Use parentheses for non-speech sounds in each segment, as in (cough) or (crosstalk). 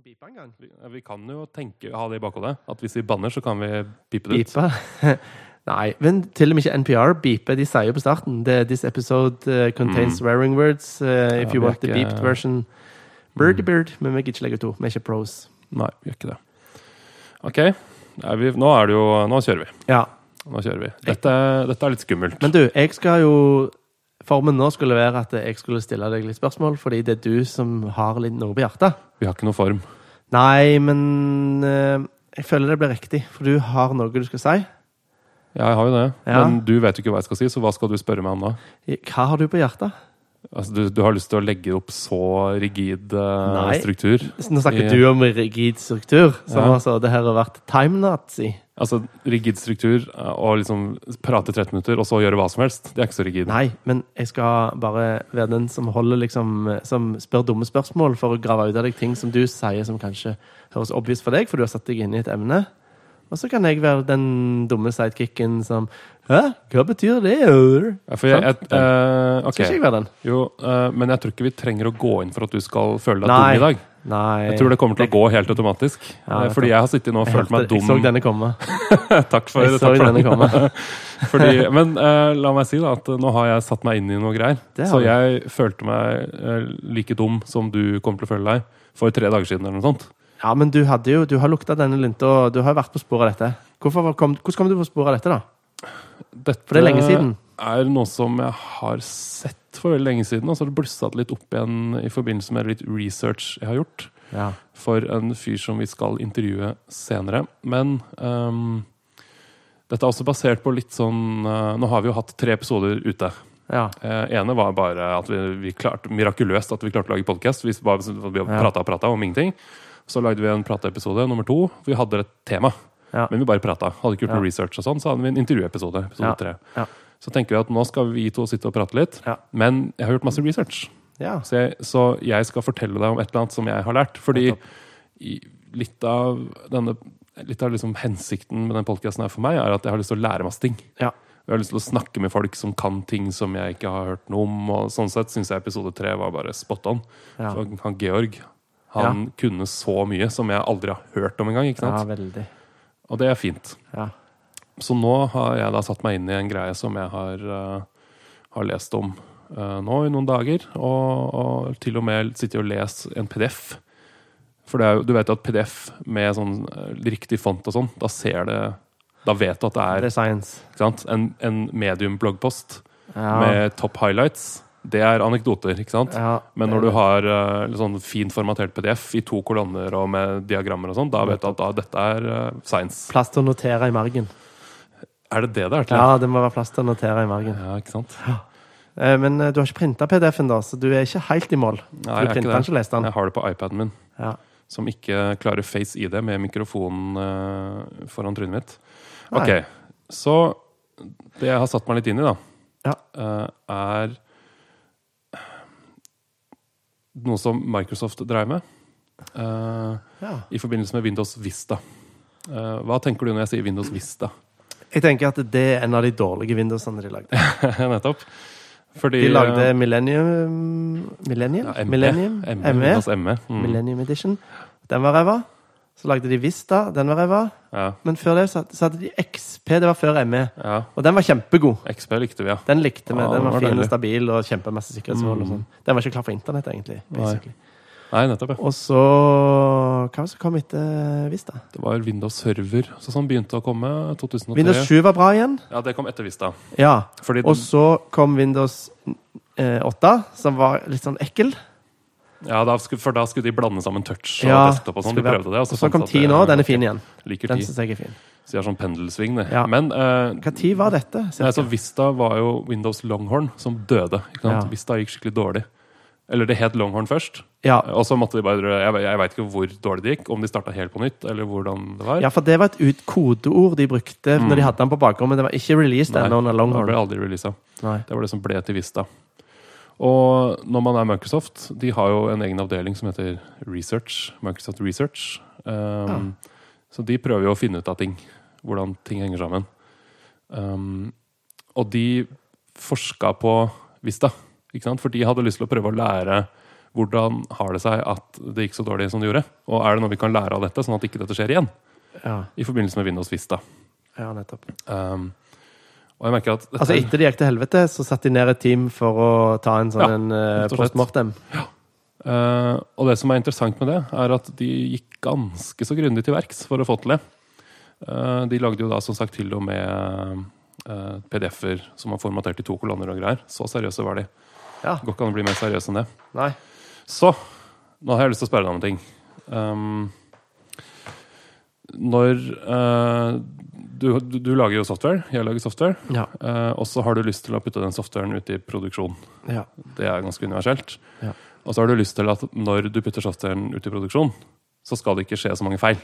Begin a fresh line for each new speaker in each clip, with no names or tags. Pipe en gang. Vi kan jo tenke, ha det i bakhodet. At hvis vi banner, så kan vi pipe det ut.
Beepe? (laughs) Nei, men til og med ikke NPR beeper. De sier jo på starten det, This episode eh, contains swearing words. eh, if
Ja,
you
vi er
want the
ikke-
beeped version. Birdy bird, men vi gidder ikke legge ut to. Vi er ikke pros.
Mm. Nei, vi gjør ikke det. OK. Er vi, nå er det jo Nå kjører vi.
Ja.
Nå kjører vi. Dette, dette er litt skummelt.
Men du, jeg skal jo Formen nå skulle være at jeg skulle stille deg litt spørsmål, fordi det er du som har litt noe på hjertet.
Vi har ikke noe form.
Nei, men eh, jeg føler det blir riktig, for du har noe du skal si.
Ja, jeg har jo det.
Ja.
Men du vet jo ikke hva jeg skal si, så hva skal du spørre meg om da?
Hva har du på hjertet?
Altså, du, du har lyst til å legge opp så rigid eh,
Nei.
struktur?
Nå snakker
Ja.
du om rigid struktur, som
Ja.
altså det her har vært time-nazi.
Altså, rigid struktur eh, og liksom prate 13 minutter, og så gjøre hva som helst. Det er ikke så rigid.
Nei, men jeg skal bare være den som holder liksom Som spør dumme spørsmål for å grave ut av deg ting som du sier som kanskje høres obvious for deg, for du har satt deg inn i et emne. Og så kan jeg være den dumme sidekicken som Hæ, hva betyr det?
Ja, For jeg,
Sant?
jeg, eh, ok.
Skal ikke jeg være den?
Jo, eh, men jeg tror ikke vi trenger å gå inn for at du skal føle deg
Nei.
dum i dag.
Nei.
Jeg tror det kommer til å gå helt automatisk.
Ja,
Eh,
vet du.
fordi jeg har sittet nå og
Jeg
følt meg
hørte-
dum.
Jeg så denne komme.
(laughs) Takk for,
Jeg så
takk for
denne
den.
komme.
(laughs) Fordi,
(laughs)
men eh, la meg si da at nå har jeg satt meg inn i noe greier.
Det har
Så
du.
jeg følte meg eh, like dum som du kommer til å føle deg for tre dager siden. eller noe sånt.
Ja, men du hadde jo Du har lukta denne lynta, og du har vært på sporet av dette. Hvorfor kom, hvordan kom du på sporet av dette, da?
Dette
For det er lenge siden.
er noe som jeg har sett for veldig lenge siden, og så har det blusset litt opp igjen i forbindelse med litt research jeg har gjort
Ja.
for en fyr som vi skal intervjue senere. Men ehm, dette er også basert på litt sånn eh, Nå har vi jo hatt tre episoder ute.
ja.
Eh, ene var bare at vi, vi klarte, mirakuløst at vi klarte å lage podkast. Vi bare vi
Ja.
prata og prata om ingenting. Så lagde vi en prateepisode nummer to. Vi hadde et tema,
Ja.
men vi bare prata. Hadde ikke gjort
Ja.
noe research og sånn, så hadde vi en intervjuepisode. episode
Ja.
tre.
Ja.
Så tenker vi at nå skal vi to sitte og prate litt.
Ja.
Men jeg har gjort masse research,
ja.
så jeg, så jeg skal fortelle deg om et eller annet som jeg har lært. Fordi
Nettopp.
i, litt av denne Litt av liksom hensikten med den podkasten for meg er at jeg har lyst til å lære masse ting.
Ja.
Jeg har lyst til å snakke med folk som kan ting som jeg ikke har hørt noe om. Og sånn sett syns jeg episode tre var bare spot on.
Ja.
For han Georg han kunne så mye som jeg aldri har hørt om engang. ikke
ja,
sant?
veldig.
Og det er fint.
Ja.
Så nå har jeg da satt meg inn i en greie som jeg har, eh, har lest om eh, nå i noen dager. Og, og til og med sitter og leser en PDF. For det er, jo- du vet jo at PDF med sånn eh, riktig font og sånn, da ser det Da vet du at det er
Det er science.
ikke sant? en, en medium-bloggpost
Ja.
med top highlights. Det er anekdoter, ikke sant?
ja.
Men når du har eh, litt sånn fint formatert PDF i to kolonner og med diagrammer og sånn, da vet du at da, dette er eh, science.
Plass til å notere i margen.
Er det det det er til?
Ja, det må være plass til å notere i margen.
ja ikke sant?
Eh, Men eh, du har ikke printa PDF-en, da, så du er ikke helt i mål.
Nei,
du
jeg er
printa den
ikke
ikke og
det.
leste den.
Jeg har det på iPaden min,
Ja.
som ikke klarer Face ID med mikrofonen eh, foran trynet mitt.
Nei.
Ok, så det jeg har satt meg litt inn i, da,
Ja.
eh, er noe som Microsoft dreier med. eh,
Ja.
I forbindelse med Windows Vista. Eh, hva tenker du når jeg sier Windows Vista? (laughs)
Jeg tenker at det er en av de dårlige Windowsene de
(laughs)
lagde.
Nettopp. Fordi
De lagde
eh,
Millennium Millennium?
ja, ME.
Millennium?
ME.
ME?
Windows ME. Mm.
Millennium Edition. Den var ræva. Så lagde de Vista. Den var ræva.
Ja,
Men før det så så hadde de XP. Det var før ME.
ja.
Og den var kjempegod.
XP likte vi, ja.
Den likte vi.
Ja,
Den
den
var
var
fin og
deilig. Mm.
stabil og kjempemasse sikkerhetshull. og sånn. Den var ikke klar for internett, egentlig. basically.
Nei, nettopp, ja.
Og så Hva var det som kom etter Vista?
Det var Windows Server så som begynte å komme. 2003.
Windows 7 var bra igjen.
Ja, det kom etter Vista.
Ja.
Fordi
Og så kom Windows eh, 8, som var litt sånn ekkel.
ja, da skulle, for da skulle de blande sammen touch og
Ja,
desktop og sånn. De
skulle være-
prøvde det.
Og så kom
fant de at
10 nå. Den er fin igjen.
Liker
Den
10.
syns jeg er fin.
Så de har sånn pendelsving, det.
Ja.
Men eh,
Hva tid var dette?
Nei,
cirka?
så Vista var jo Windows Longhorn som døde. Ikke sant?
Ja.
Vista gikk skikkelig dårlig. Eller det het Longhorn først.
Ja.
Og så måtte de bare Jeg, jeg veit ikke hvor dårlig det gikk. Om de starta helt på nytt, eller hvordan det var.
ja, for det var et ut kodeord de brukte når de hadde den på bakrommet. Det var ikke released
Mm. Nei,
ennå under
det ble
Longhorn.
aldri releasa.
Nei.
Det var det som ble til Vista. Og når man er Microsoft De har jo en egen avdeling som heter Research. Microsoft Research. Um, Så de prøver jo å finne ut av ting. Hvordan ting henger sammen. Um, og de forska på Vista, ikke sant? for de hadde lyst til å prøve å lære Hvordan har det seg at det gikk så dårlig som det gjorde? Og er det noe vi kan lære av dette, sånn at ikke dette skjer igjen?
Ja,
I forbindelse med Windows Vista.
ja nettopp.
Um, og jeg merker at dette,
(laughs) Altså Etter det gikk til helvete, så satte de ned et team for å ta en
Ja,
sånn ja,
rett og slett.
post mortem.
Eh, og det som er interessant med det, er at de gikk ganske så grundig til verks for å få til det. Eh, de lagde jo da som sagt til og med eh, PDF-er som var formatert i to kolonner og greier. Så seriøse var de.
Ja.
Går ikke an å bli mer seriøs enn det.
Nei.
Så nå har jeg lyst til å spørre deg om en ting. Um, når eh, du, du, du lager jo software, jeg lager software,
Ja.
eh, og så har du lyst til å putte den softwaren ut i produksjon.
ja.
Det er ganske universelt.
Ja.
Og så har du lyst til at når du putter softwaren ut i produksjon, så skal det ikke skje så mange feil.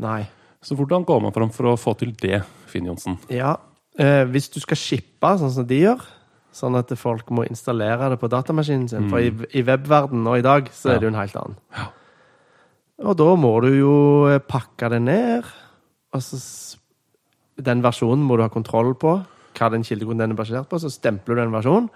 Nei.
Så hvordan går man fram for å få til det, Finn Johnsen?
Ja. Eh, hvis du skal shippe, sånn som de gjør, sånn at folk må installere det på datamaskinen sin For i, i webverdenen nå i dag, så
Mm. Ja.
er det jo en helt annen. Og da må du jo eh, pakke det ned. Og så s- Den versjonen må du ha kontroll på. Hva den kildekoden den er basert på. Så stempler du den versjonen.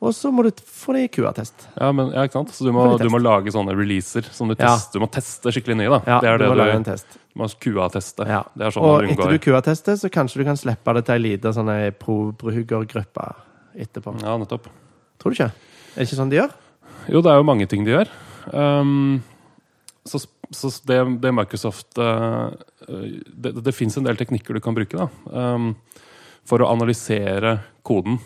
Og så må du t- få det i QR-test.
Ja, men, ja, ikke sant? Så du må,
Får vi
du må lage sånne releaser som du
Ja.
tester. Du må teste skikkelig nye, da.
Ja,
det er
du
det
må lage en
du,
test.
du må QA-teste.
Ja.
Det er sånn
og
man
etter
unngår.
du QR-tester, så kanskje du kan slippe det til ei lita sånn ei brukergruppe etterpå.
Ja, nettopp.
Tror du ikke? Er det ikke sånn de gjør?
Jo, det er jo mange ting de gjør. Ehm, så så det, det Microsoft eh, Det, det fins en del teknikker du kan bruke da, ehm, for å analysere koden.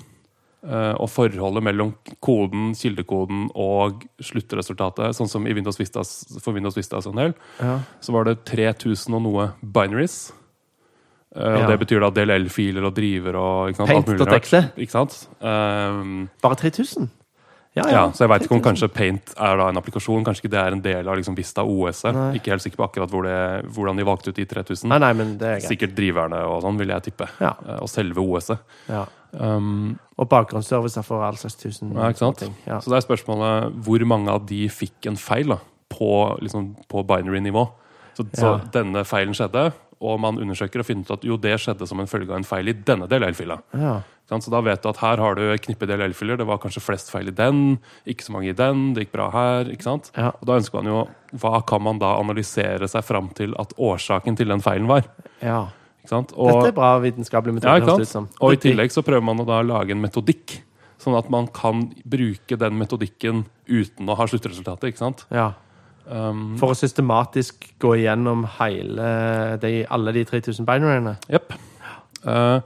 eh, og forholdet mellom koden, kildekoden og sluttresultatet. Sånn som i Windows Vista, for Windows Vista og sånn del,
Ja.
så var det 3000 og noe binaries. Eh, og
Ja.
Det betyr da DLL-filer og driver og ikke sant, alt mulig rart.
Paint.exe.
Ikke sant? Ehm,
Bare 3000?
ja, så jeg vet ikke om kanskje
sånn.
Paint er da en applikasjon. Kanskje ikke det er en del av liksom Vista OS-et.
Nei.
Ikke helt sikker på akkurat hvor det, hvordan de valgte ut de 3000.
Nei, nei, men det er greit.
Mm. Sikkert driverne og sånn, vil jeg tippe.
Ja.
Eh, Og selve OS-et.
Ja.
Um,
Og bakgrunnsservicer for all slags tusen
ja, ikke sant?
ting. Ja.
Så det er spørsmålet hvor mange av de fikk en feil da, på, liksom, på binary-nivå. Så,
Ja.
så denne feilen skjedde, og man undersøker og finner ut at jo, det skjedde som en følge av en feil i denne DLL-fila.
Ja.
Ikke sant? Så da vet du at her har du et knippe DLL-filer, det var kanskje flest feil i den, ikke så mange i den, det gikk bra her, ikke sant?
Ja.
Og da ønsker man jo, hva kan man da analysere seg fram til at årsaken til den feilen var?
ja.
Ikke sant?
Dette
Og,
er bra vitenskapelig
ja,
metode.
ikke
høres det ut som.
sant? og i
Dette-
tillegg så prøver man å da lage en metodikk, sånn at man kan bruke den metodikken uten å ha sluttresultatet, ikke sant?
ja.
Um,
For å systematisk gå igjennom hele de, alle de 3000 binariene.
Jepp. Eh,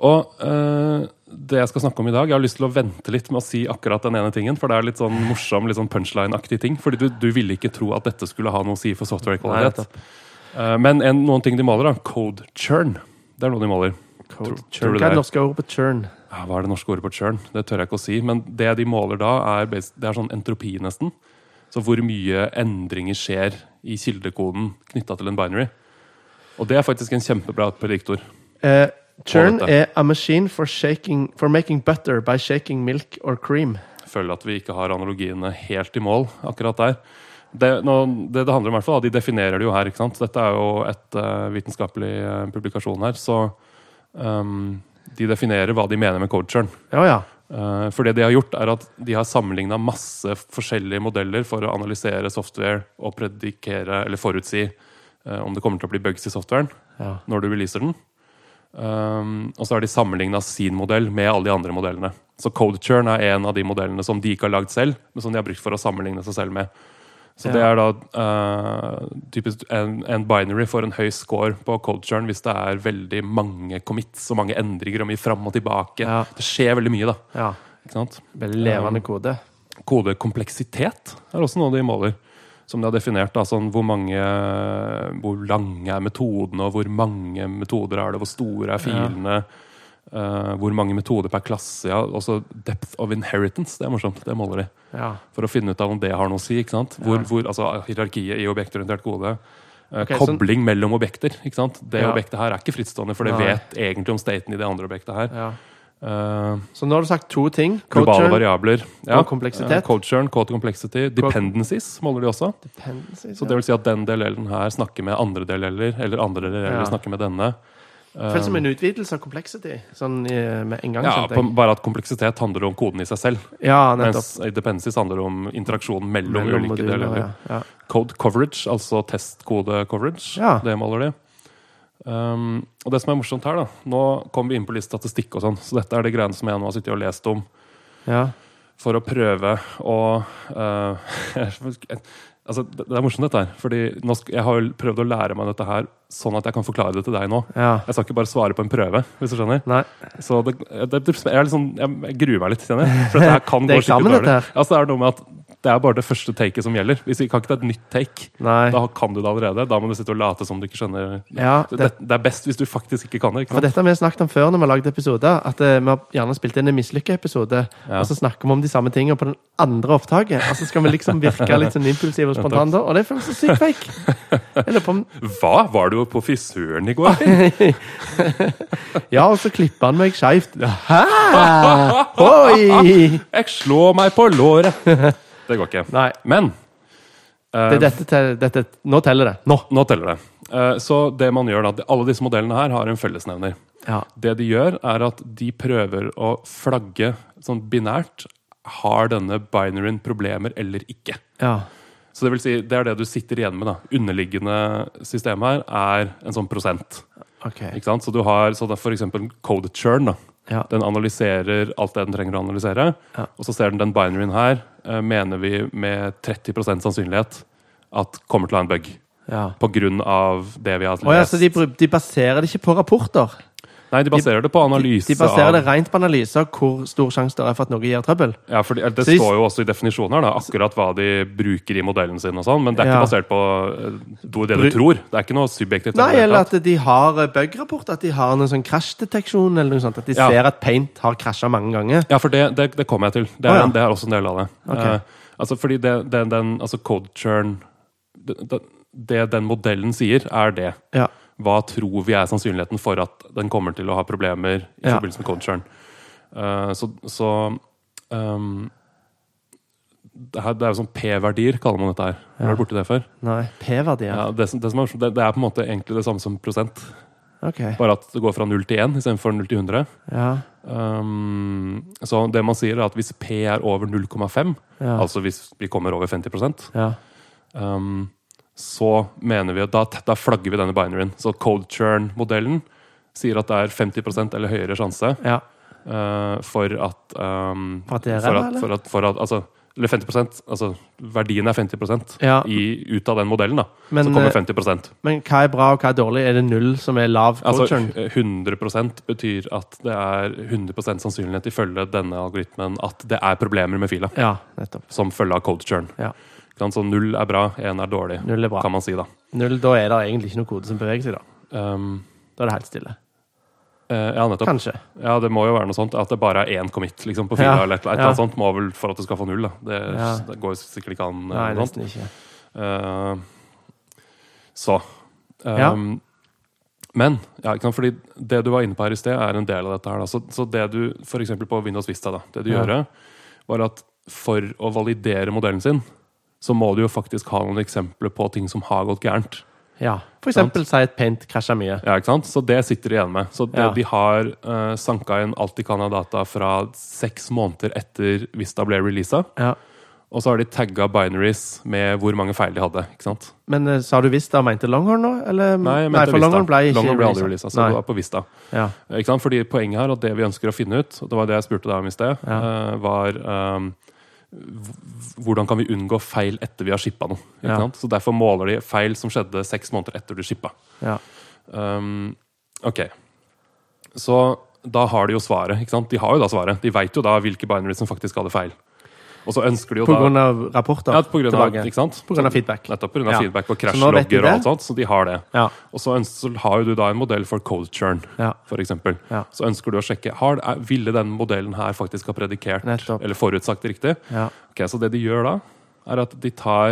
og eh, det jeg skal snakke om i dag Jeg har lyst til å vente litt med å si akkurat den ene tingen. For det er litt sånn morsom, litt sånn punchline-aktig ting. Fordi du, du ville ikke tro at dette skulle ha noe å si for software-kvalitet.
nettopp.
Eh, men en, noen ting de måler, da. Code churn. Det er noe de måler. Tror-
Code. Churn.
tror du
Hva
det
er
er-
det norske ordet på churn?
Ja, hva er det norske ordet på churn? Det tør jeg ikke å si. Men det de måler da, er, bas- det er sånn entropi, nesten. Så hvor mye endringer skjer i kildekoden knytta til en binary. Og det er faktisk en kjempebra prediktor.
Eh, churn
På dette.
er a machine for, shaking, for making butter by shaking milk or cream.
føler at vi ikke har analogiene helt i mål akkurat der. Det, nå, det det handler om i hvert fall, da, De definerer det jo her. ikke sant? Dette er jo et eh, vitenskapelig eh, publikasjon her. Så ehm, de definerer hva de mener med code churn.
Ja, ja.
Eh, for det de har gjort, er at de har sammenligna masse forskjellige modeller for å analysere software og predikere, eller forutsi eh, om det kommer til å bli bugs i softwaren
ja.
når du releaser den. Um, og så har de sammenligna sin modell med alle de andre modellene. Så CodeChurn er en av de modellene som de ikke har lagd selv, men som de har brukt for å sammenligne seg selv med. Så
Ja.
det er da uh, typisk en, en binary for en høy score på CodeChurn hvis det er veldig mange commits og mange endringer og mye fram og tilbake.
Ja.
Det skjer veldig mye, da.
ja.
Ikke sant?
Veldig levende kode.
Kodekompleksitet er også noe de måler. Som de har definert. Da, sånn hvor, mange, hvor lange er metodene, og hvor mange metoder er det, hvor store er filene. eh, hvor mange metoder per klasse. Ja. Også depth of inheritance. Det er morsomt. Det måler de.
Ja.
For å finne ut av om det har noe å si. ikke sant? Hvor, hvor, altså, hierarkiet i objektorientert kode. eh,
Ok, så-
Kobling mellom objekter. ikke sant? Det
Ja.
objektet her er ikke frittstående, for det
Nei.
vet egentlig om staten i det andre objektet her. (laughs)
ja.
Eh,
Så nå har du sagt to ting. Culture,
Globale variabler.
Og kompleksitet.
Eh, Code churn, code complexity. Dependencies måler de også.
dependencies,
Så
ja.
det vil si at den DLL-en her snakker med andre DLL-er, eller andre DLL-er
Ja.
snakker med denne.
Føles som en utvidelse av complexity. Sånn i- med en gang,
um, Eh, Ja,
kjente
på,
jeg.
bare at kompleksitet handler om koden i seg selv.
Ja, nettopp.
Mens dependencies handler om interaksjon mellom,
Mellom
ulike
moduler,
deler.
Ja. Ja.
Code coverage, altså testkode-coverage.
Ja.
Det måler de. Um, og det som er morsomt her, da Nå kom vi inn på litt statistikk og sånn, så dette er de greiene som jeg nå har sittet og lest om
Ja.
for å prøve å eh, (laughs) Altså, det det er morsomt, dette her. Fordi nå sk jeg har jo prøvd å lære meg dette her sånn at jeg kan forklare det til deg nå.
ja.
Jeg skal ikke bare svare på en prøve, hvis du skjønner.
Nei.
Så det, det, det, jeg, er litt sånn- jeg gruer meg litt, kjenner jeg. For dette
(laughs)
her kan
Det er
gå skikkelig
eksamen,
dårlig.
dette her.
Altså, det er noe med at det er bare det første taket som gjelder. Hvis vi kan ikke ta et nytt take,
Nei.
da kan du det allerede. Da må du sitte og late som du ikke skjønner.
Ja,
Det,
det,
det er best hvis du faktisk ikke kan det. Ikke
for
sant?
dette har vi snakket om før når vi har lagd episoder. At eh, vi har gjerne spilt inn en mislykka episode,
Ja.
og så snakker vi om de samme tingene på den andre opptaket. Og så skal vi liksom virke litt sånn impulsive og spontane da, og det føles så sykt fake. Jeg lurer på om
Hva? Var du på frisøren i går?
(laughs) Ja, og så klipper han meg skeivt. Hæ? Oi!
Jeg slår meg på låret! Det går ikke.
Nei.
Men eh,
Det er dette, tel- dette Nå teller det. Nå!
nå teller det. Eh, så det man gjør da, at alle disse modellene her har en fellesnevner.
Ja.
Det de gjør, er at de prøver å flagge sånn binært. Har denne binaryen problemer eller ikke?
ja.
Så det vil si, det er det du sitter igjen med. da. Underliggende system her er en sånn prosent.
OK.
ikke sant? Så du har så det er for eksempel code churn. da.
Ja.
Den analyserer alt det den trenger å analysere.
Ja.
Og så ser den den binaryen her, eh, mener vi med 30 sannsynlighet at kommer til å ha en bug.
ja.
På grunn av det vi har lest.
Å ja, så de, bru- de baserer det ikke på rapporter?
Nei, de baserer det på analyse
De baserer
av
det rent på analyser hvor stor sjanse det er for at noe gir trøbbel?
Ja, for Det, det
Så de-
står jo også i definisjonen her, da, akkurat hva de bruker i modellen sin. og sånn, Men det er
Ja.
ikke basert på eh, do- det du
Bru-
tror. Det er ikke noe subjektivt.
Nei,
det hele
eller
tatt.
at de har eh, bug-rapport, at de har en sånn krasjdeteksjon eller noe sånt. At de
Ja.
ser at paint har krasja mange ganger.
Ja, for det, det, det kommer jeg til. Det
Å,
er,
ja.
det er også en del av det.
Ok.
Eh, altså, fordi det, den, den, altså code churn det, det, det den modellen sier, er det.
Ja.
Hva tror vi er sannsynligheten for at den kommer til å ha problemer i
Ja.
forbindelse med code churn? Eh, så så ehm, det, her, det er jo sånn P-verdier, kaller man dette her. Har du vært borti det før?
Nei, P-verdier.
Ja, det, som, det, som er, det, det er på en måte egentlig det samme som prosent,
OK.
bare at det går fra 0 til 1 istedenfor 0 til 100.
Ja.
Um, så det man sier, er at hvis P er over 0,5,
Ja.
altså hvis vi kommer over 50
ja.
um, så mener vi at da, da flagger vi denne binaryen. Så cold churn-modellen sier at det er 50 eller høyere sjanse
ja.
uh, for at um,
For at det er
for
ræva,
at,
eller?
for at, for at altså, eller 50 altså verdien er 50
Ja.
i, ut av den modellen. da
Men,
Så kommer
eh,
50
Men hva er bra, og hva er dårlig? Er det null som er lav
Altså,
culture?
100 betyr at det er 100 sannsynlighet ifølge denne algoritmen at det er problemer med fila
Ja, nettopp.
som følge av code churn.
Ja.
Ikke sant? Så null er bra, én er dårlig,
Null er bra.
kan man si, da.
Null, da er det egentlig ikke noe kode som beveger seg, da.
Um,
Da er det helt stille.
eh, ja, nettopp.
Kanskje.
Ja, det må jo være noe sånt. At det bare er én commit liksom, på
Ja,
fila. Eller et, et eller
ja.
annet sånt må vel for at du skal få null. Da. Det,
Ja.
det går jo sikkert ikke an. eh,
Nei,
noe sånt.
nesten ikke.
Eh, så eh,
Ja.
Men ja, ikke sant, fordi det du var inne på her i sted, er en del av dette. her da. Så, så det du for eksempel på Windows Vista da, det du
Ja.
gjorde, var at for å validere modellen sin, så må du jo faktisk ha noen eksempler på ting som har gått gærent.
Ja. For eksempel si at paint krasjer mye.
Ja, ikke sant? Så det sitter de igjen med. Så det,
Ja.
de har eh, sanka inn alt de kan av data fra seks måneder etter Vista ble releasa.
Ja.
Og så har de tagga binaries med hvor mange feil de hadde. ikke sant?
Men eh, sa du Vista og mente Longhorn nå? Eller?
Nei, jeg mente
Mm. for Longhorn ble
Vista.
ikke
Longhorn ble aldri
releaset.
releaset, så det
Nei.
var på Vista.
Ja.
Eh, Ikke sant? Fordi Poenget her, og det vi ønsker å finne ut, og det var det jeg spurte deg om i sted,
Ja.
eh, var ehm, hv- hvordan kan vi unngå feil etter vi har shippa noe? Ikke
Ja.
sant? Så Derfor måler de feil som skjedde seks måneder etter du shippa.
Ja.
Um, ok. Så da har de jo svaret. ikke sant? De har jo da svaret. De veit jo da hvilke binaries som faktisk hadde feil. Og så ønsker de jo
På
da
grunn av rapporter
ja, på grunn av, liksom-
tilbake.
ikke sant?
På grunn av feedback.
Nettopp pga.
Ja.
feedback og
Så nå vet de
crashlogger og
det.
alt sånt. Så de har det.
Ja.
Og så, øns- så har jo du da en modell for cold churn,
Ja.
for eksempel.
Ja.
Så ønsker du å sjekke har, er, ville denne modellen her faktisk ha predikert
Nettopp.
eller forutsagt riktig.
Ja.
Ok, Så det de gjør da, er at de tar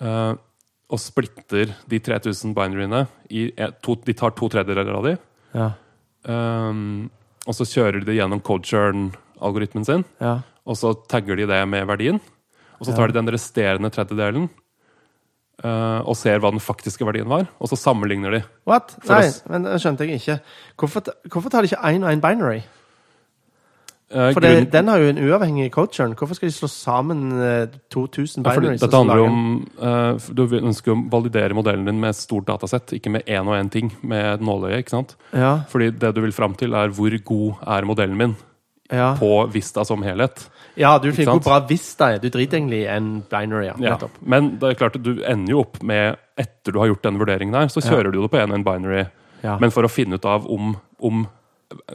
eh, og splitter de 3000 binaryene i eh, to, De tar to tredjedeler av de,
Ja.
eh, og så kjører de det gjennom cold churn-algoritmen sin.
Ja.
Og så tagger de det med verdien. Og så tar de den resterende tredjedelen eh, og ser hva den faktiske verdien var, og så sammenligner de.
What?
For
Nei,
oss.
men det skjønte jeg ikke. Hvorfor, ta- hvorfor tar de ikke én og én binary?
Eh,
For det,
grunnen-
den har jo en uavhengig codechurn. Hvorfor skal de slå sammen eh, 2000
Ja, fordi
binaries? og
dette
så lage
handler jo
en-
om eh, f- Du ønsker jo å validere modellen din med et stort datasett, ikke med én og én ting. Med et nåløye. ikke sant?
Ja,
Fordi det du vil fram til, er hvor god er modellen min
ja.
på Vista som helhet.
ja du
Ikke
fikk jo
sant?
bra Vista. Du driter egentlig i en binary. Ja.
Ja.
Nettopp.
Men det er klart, du ender jo opp med Etter du har gjort den vurderingen her, så kjører du jo det på en og en binary.
Ja.
Men for å finne ut av om, om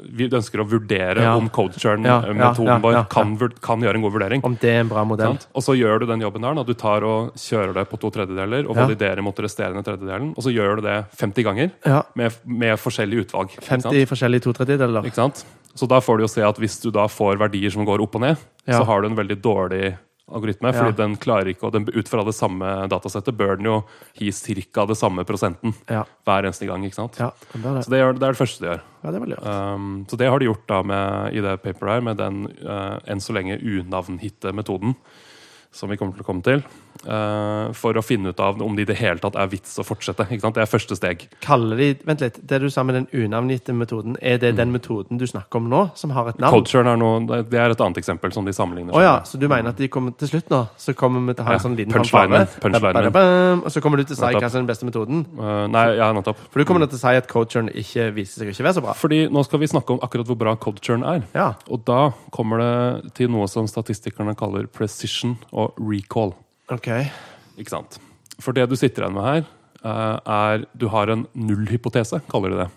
Vi ønsker å vurdere
Ja.
om
Ja,
CodeChurn-metoden
ja, ja,
vår
ja,
Kan, vur- kan gjøre en god vurdering.
Om det er en bra modell.
Sant? Og så gjør du den jobben der. Da. Du tar og kjører det på to tredjedeler og
Ja.
validerer mot resterende tredjedelen. Og så gjør du det 50 ganger
Ja.
med, med forskjellig utvalg. ikke sant?
50 forskjellige to tredjedeler.
Ikke sant? Så da får du jo se at hvis du da får verdier som går opp og ned,
Ja.
så har du en veldig dårlig algoritme, fordi
Ja.
den klarer ikke, og den, ut fra det samme datasettet bør den jo gi ca. det samme prosenten
Ja.
hver eneste gang. ikke sant?
Ja, det var
Så
det.
det, gjør, det er det første de gjør.
Ja, det var lurt.
Um, så det har de gjort da med, i det paperet her, med den eh, enn så lenge unavnhitte metoden, som vi kommer til å komme til, eh, for å finne ut av om det i det hele tatt er vits å fortsette. Ikke sant? Det er første steg.
Kaller de Vent litt. Det du sa med den unavngitte metoden, er
Mm.
det den metoden du snakker om nå, som har et navn?
Culturen er noe, det- det er et annet eksempel som de sammenligner.
Å ja,
seg med.
så du mener at de kommer til slutt nå? Så kommer vi til å ha en
Ja,
sånn liten
punchlinen,
fanfare.
punchlinen.
Ba-ba-bam, Og så kommer du til å si
Nettopp.
hva som er den beste metoden?
Eh, nei, ja, nettopp. Mm.
For du kommer til å si at coacheren ikke viser seg å ikke være så bra.
Fordi nå skal vi snakke om akkurat hvor bra culturen er.
Ja.
Og da kommer det til noe som statistikerne kaller precision og recall.
OK.
Ikke sant? For det du sitter igjen med her, eh, er Du har en nullhypotese, kaller de det.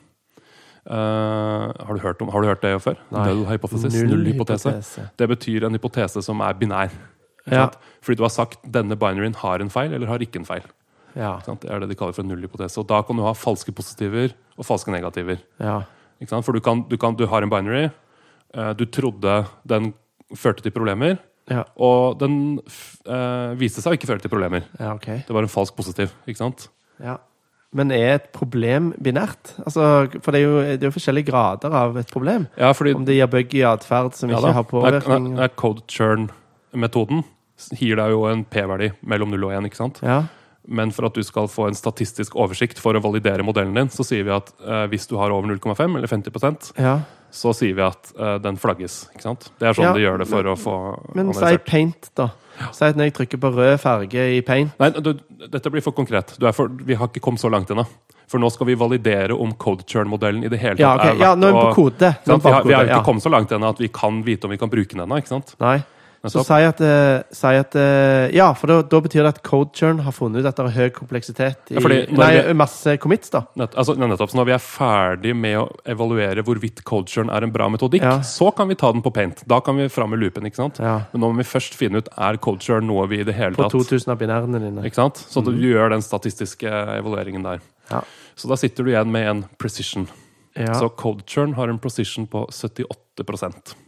Eh, har, du hørt om, har du hørt det før?
Nei.
Null hypothesis,
Null
null hypotese.
hypotese.
Det betyr en hypotese som er binær. Ikke
Ja.
sant? Fordi du har sagt denne binaryen har en feil eller har ikke en feil. Ikke
Ja.
sant? Det er det de kaller for en nullhypotese. Og da kan du ha falske positiver og falske negativer.
ja.
Ikke sant? For du, kan, du, kan, du har en binary, eh, du trodde den førte til problemer,
Ja,
og den f- eh, viste seg å ikke føre til problemer.
ja OK.
Det var en falsk positiv, ikke sant?
Ja. Men er et problem binært? Altså, for det er, jo, det er jo forskjellige grader av et problem.
Ja, fordi
Om det gir buggy atferd som
ja,
ikke
da,
har påvirkning.
det er- det er code churn-metoden gir deg jo en p-verdi mellom 0 og 1, ikke sant?
Ja.
Men for at du skal få en statistisk oversikt for å validere modellen din, så sier vi at eh, hvis du har over 0,5 eller 50
ja.
så sier vi at eh, den flagges, ikke sant? Det er sånn
Ja,
de gjør det for å få
Men si
analysert.
paint, da. Si at når jeg trykker på rød farge i paint
Nei, du, dette blir for konkret. Du er for, vi har ikke kommet så langt ennå. For nå skal vi validere om code churn-modellen i det hele tatt
Ja, ok.
er verdt
Ja, nå er vi på
å-
kode. Nå er
Ikke sant? Vi har, vi har
bakhodet,
ikke
ja.
kommet så langt ennå at vi kan vite om vi kan bruke den ennå. ikke sant?
Nei. Så
Nettopp.
si at, eh, si at eh, Ja, for da, da betyr det at CodeChurn har funnet ut at det er høy kompleksitet i
Ja, fordi når
Nei,
vi-
masse commits, da.
Nett, altså, nei, nettopp, så Når vi er ferdig med å evaluere hvorvidt code churn er en bra metodikk,
Ja.
så kan vi ta den på paint. Da kan vi fram med loopen. ikke sant?
Ja.
Men nå må vi først finne ut er code churn noe vi i det hele
På
tatt
2000 av binærene dine.
Ikke sant? Så du gjør den statistiske evalueringen der.
Ja.
Så da sitter du igjen med en precision.
Ja.
Så code churn har en precision på 78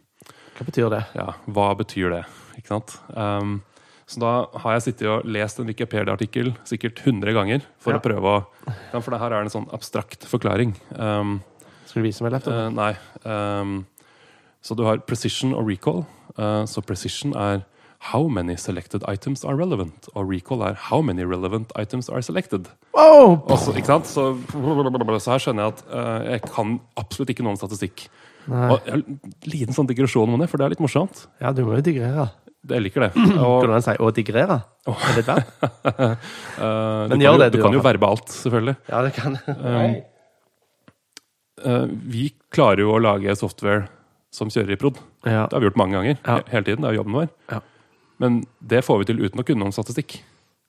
Hva betyr det?
ja, hva betyr det? Ikke sant? Um, så da har jeg sittet og lest en Wikipedia-artikkel sikkert 100 ganger for
Ja.
å prøve å ja, For det her er det en sånn abstrakt forklaring. Um,
Skal du vise meg laptopen?
eh, nei. Um, så du har precision og recall. Eh, så precision er How many selected items are relevant? Og recall er how many relevant items are selected?
Wow!
Og så, ikke sant? Så, så her skjønner jeg at eh, jeg kan absolutt ikke noe om statistikk.
Nei.
Og jeg har en liten sånn digresjon om det, for det er litt morsomt.
Ja, du må jo digrere.
Jeg liker det. Og,
Hvordan sier 'å digrere'? Er det et verb?
Eh,
Men gjør
du kan, jo,
det,
du
du,
kan jo
da.
verbe alt, selvfølgelig.
Ja, det
(laughs)
kan
Um,
Nei.
Eh, vi klarer jo å lage software som kjører i prod.
Ja.
Det har vi gjort mange ganger.
Ja.
he- hele tiden, det er jo jobben vår.
Ja.
Men det får vi til uten å kunne om statistikk.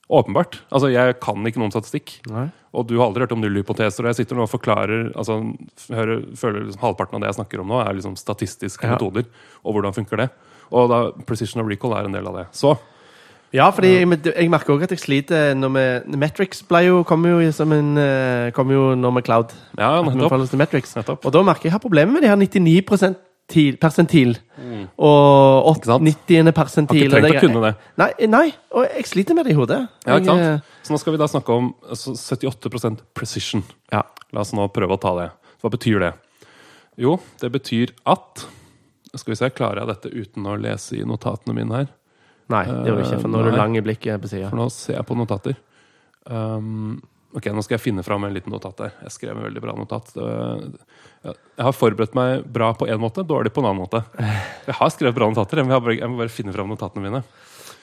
Åpenbart. Altså, Jeg kan ikke noe om statistikk.
Nei.
Og du har aldri hørt om nullhypoteser. Og jeg sitter nå og forklarer altså, f- hører, føler liksom Halvparten av det jeg snakker om nå, er liksom statistiske
Ja.
metoder. Og hvordan funker det. Og da, precision of recall er en del av det. Så
Ja, fordi jeg, jeg merker òg at jeg sliter når vi Metrics ble jo, kom jo i som en eh, Kom jo nå med cloud.
ja,
At vi
nettopp.
forholder oss til Metrics.
Nettopp.
Og da merker jeg jeg har problemer med de her 99 persentil, persentil og
Mm. Ikke sant?
80. persentil.
Har ikke
og
trengt å
det-
kunne det.
Nei, nei, og jeg sliter med det i hodet.
Ja, ikke
Jeg, eh,
sant? Så nå skal vi da snakke om altså, 78 precision.
eh, ja.
La oss nå prøve å ta det. Hva betyr det? Jo, det betyr at Skal vi se, klarer jeg dette uten å lese i notatene mine her?
Nei, det gjør jeg ikke, for nå er du
Eh, Nei.
lang i blikket på sida.
For nå ser jeg på notater. Um, ok, nå skal jeg finne fram en liten notat der. Jeg skrev en veldig bra notat. Det, jeg jeg har forberedt meg bra på én måte, dårlig på en annen måte. Jeg har skrevet bra notater, jeg må bare, jeg må bare finne fram notatene mine.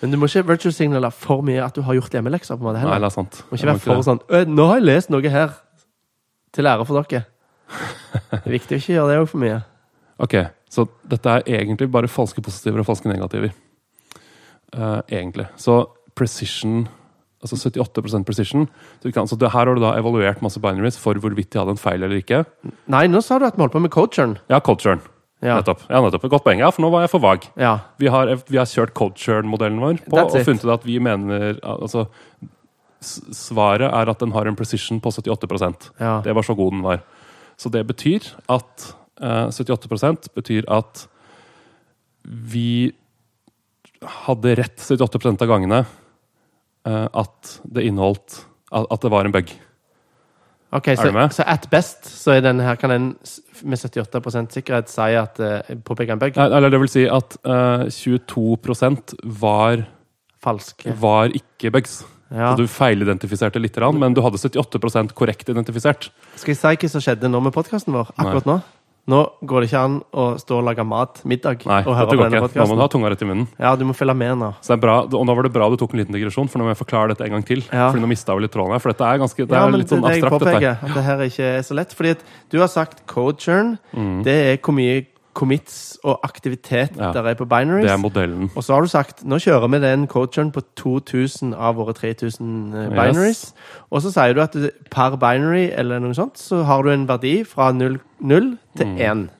Men du må ikke virtual signale for mye at du har gjort hjemmelekser. på en måte
Nei,
heller.
det er sant.
Du må
Jeg
ikke være for sånn «Ø, 'Nå har jeg lest noe her, til ære for dere'. Det er viktig å ikke gjøre det òg for mye.
Ok, så dette er egentlig bare falske positiver og falske negativer. Eh, egentlig. Så precision Altså 78 precision. Så, du kan, så det her har du da evaluert masse binaries for hvorvidt de hadde en feil eller ikke.
Nei, nå sa du at vi holdt på med coacheren.
Ja, culturen.
Ja.
Nettopp. Ja, nettopp. Godt poeng. Ja, for nå var jeg for vag.
Ja.
Vi har, vi har kjørt culture-modellen vår på
That's
og
it.
funnet ut at vi mener Altså, s- svaret er at den har en precision på 78
ja.
Det var så god den var. Så det betyr at eh, 78 betyr at vi hadde rett 78 av gangene eh, at det inneholdt at, at det var en bug.
Ok,
Er du
så,
med?
så at best så er den her, kan en s- med 78 sikkerhet si at uh, påpeke en bug?
Nei, Eller det vil si at eh, 22 var,
Falsk.
var ikke bugs.
Ja.
Så du feilidentifiserte litt, men du hadde 78 korrekt identifisert.
Skal jeg si hva som skjedde nå med podkasten vår? akkurat nå? Nå går det ikke an å stå og lage mat middag
Nei,
og høre
dette
på
går
denne
ikke. Nå må
podkasten.
du ha tunga rett i munnen.
Ja, du må følge med nå.
Så det er bra, og nå var det bra du tok en liten digresjon, for nå må jeg forklare dette en gang til.
Ja.
Fordi nå mistet jeg litt tråden her, for dette er ganske, det
Ja,
er
men
litt sånn
det er det jeg
abstrakt dette. her.
påpeker, at det her ikke er så lett. Fordi at du har sagt code churn. Det er hvor mye commits og aktivitet
Mm. Ja.
der er på binaries.
Det er modellen.
Og så har du sagt nå kjører vi den coacheren på 2000 av våre 3000 eh, binaries. Og så sier du at du- per binary eller noe sånt, så har du en verdi fra 0, til
Mm.
1.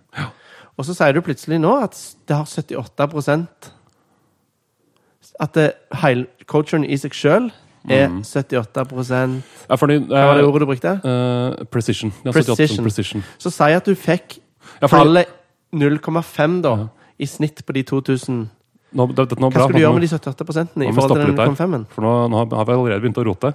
Og så sier du plutselig nå at s- det har 78 At det, heil, coacheren i seg sjøl er 78
Ja, fordi,
Hva var det
Mm. eh,
ordet du brukte?
eh, precision. Ja, 78
Precision.
precision.
Så si at du fikk
Ja, fordi,
tallet 0,5 da, i snitt på de 2000.
nå, det, dette nå er
Hva
bra,
skal du
nå
gjøre
må-
med de 78 i
nå må
forhold
vi stoppe
til den
litt her.
0,5-en?
For nå, nå har- har vi allerede begynt å rote.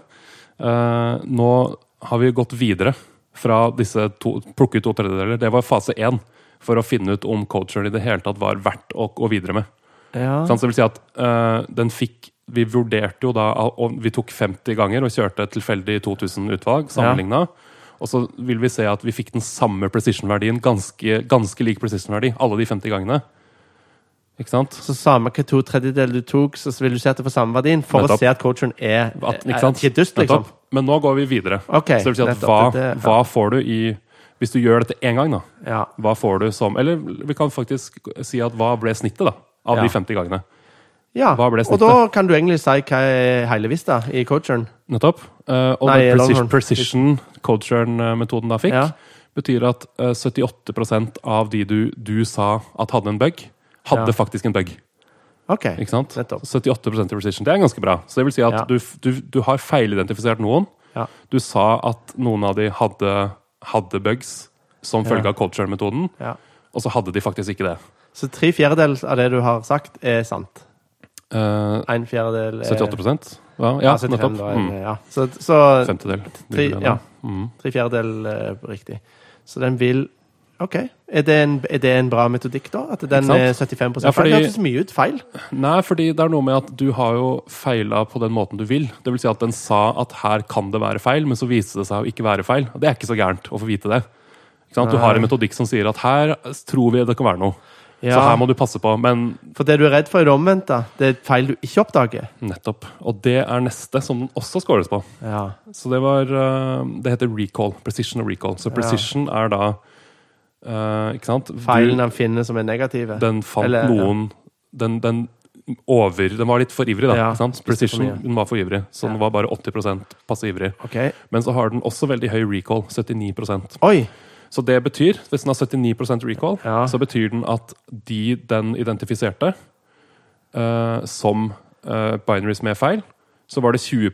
Eh, nå har vi gått videre fra disse to, plukke ut to tredjedeler. Det var fase én for å finne ut om coacheren i det hele tatt var verdt å gå videre med.
Ja.
Sant? Så det vil si at eh, den fikk Vi vurderte jo da og Vi tok 50 ganger og kjørte et tilfeldig 2000 utvalg sammenligna. Og så vil vi se at vi fikk den samme precision-verdien, ganske, ganske lik precision-verdi, alle de 50 gangene. Ikke sant?
Så samme hva to tredjedeler du tok, så vil du se at det får samme verdien, for
Nettopp.
å se at coachen er,
At,
er
ikke sant?
ikke dust, liksom.
Nettopp. Men nå går vi videre.
Ok,
så det vil si at
nettopp.
hva,
Det- det-
hva får du i Hvis du gjør dette én gang, da.
Ja.
Hva får du som Eller vi kan faktisk si at hva ble snittet, da? Av
Ja.
de 50 gangene.
ja.
Hva ble
Og da kan du egentlig si hva er hele vista i coachen.
Nettopp. Eh, og
Nei,
den precision,
Longhorn.
precision coacheren-metoden da fikk,
Ja.
betyr at eh, 78 av de du, du sa at hadde en bug, hadde
Ja.
faktisk en bug.
Ok.
Ikke sant?
Nettopp.
78 i precision. Det er ganske bra. Så det vil si at
Ja.
du, f- du, du har feilidentifisert noen.
Ja.
Du sa at noen av de hadde, hadde bugs som følge
Ja.
av coacheren-metoden,
Ja.
og så hadde de faktisk ikke det.
Så tre fjerdedeler av det du har sagt, er sant.
Eh,
En fjerdedel er
78 Ja, ja,
Ja,
nettopp.
75 da,
Mm.
er- ja. Så, så
Femtedel.
tre,
Lille, da.
ja,
Mm.
tre fjerdedeler er riktig. Så den vil OK. Er det, en, er det en bra metodikk, da? At den
sant?
er 75
Ja,
feil?
fordi-
Det hørtes mye ut feil.
Nei, fordi det er noe med at du har jo feila på den måten du vil. Det vil si at den sa at her kan det være feil, men så viste det seg å ikke være feil. Og det er ikke så gærent å få vite det. Ikke sant? Du har en metodikk som sier at her tror vi det kan være noe. Så her må du passe på. Men
For det du er redd for, er det omvendte. Det er feil du ikke oppdager.
nettopp. Og det er neste som den også scores på.
Ja.
Så det var eh, Det heter recall. Precision og recall. Så precision er da eh, Ikke sant? Du-
Feilen han finner som er negative.
den fant
Eller, ja.
noen den, den over Den var litt for ivrig, da.
Ja,
ikke sant?
spiste for
Precision
mye.
den var for ivrig, så den
Ja.
var bare 80 passe ivrig.
Ok.
Men så har den også veldig høy recall, 79
Oi!
Så det betyr, hvis den har 79 recall,
Ja.
så betyr den at de den identifiserte eh, som eh, binaries med feil, så var det 20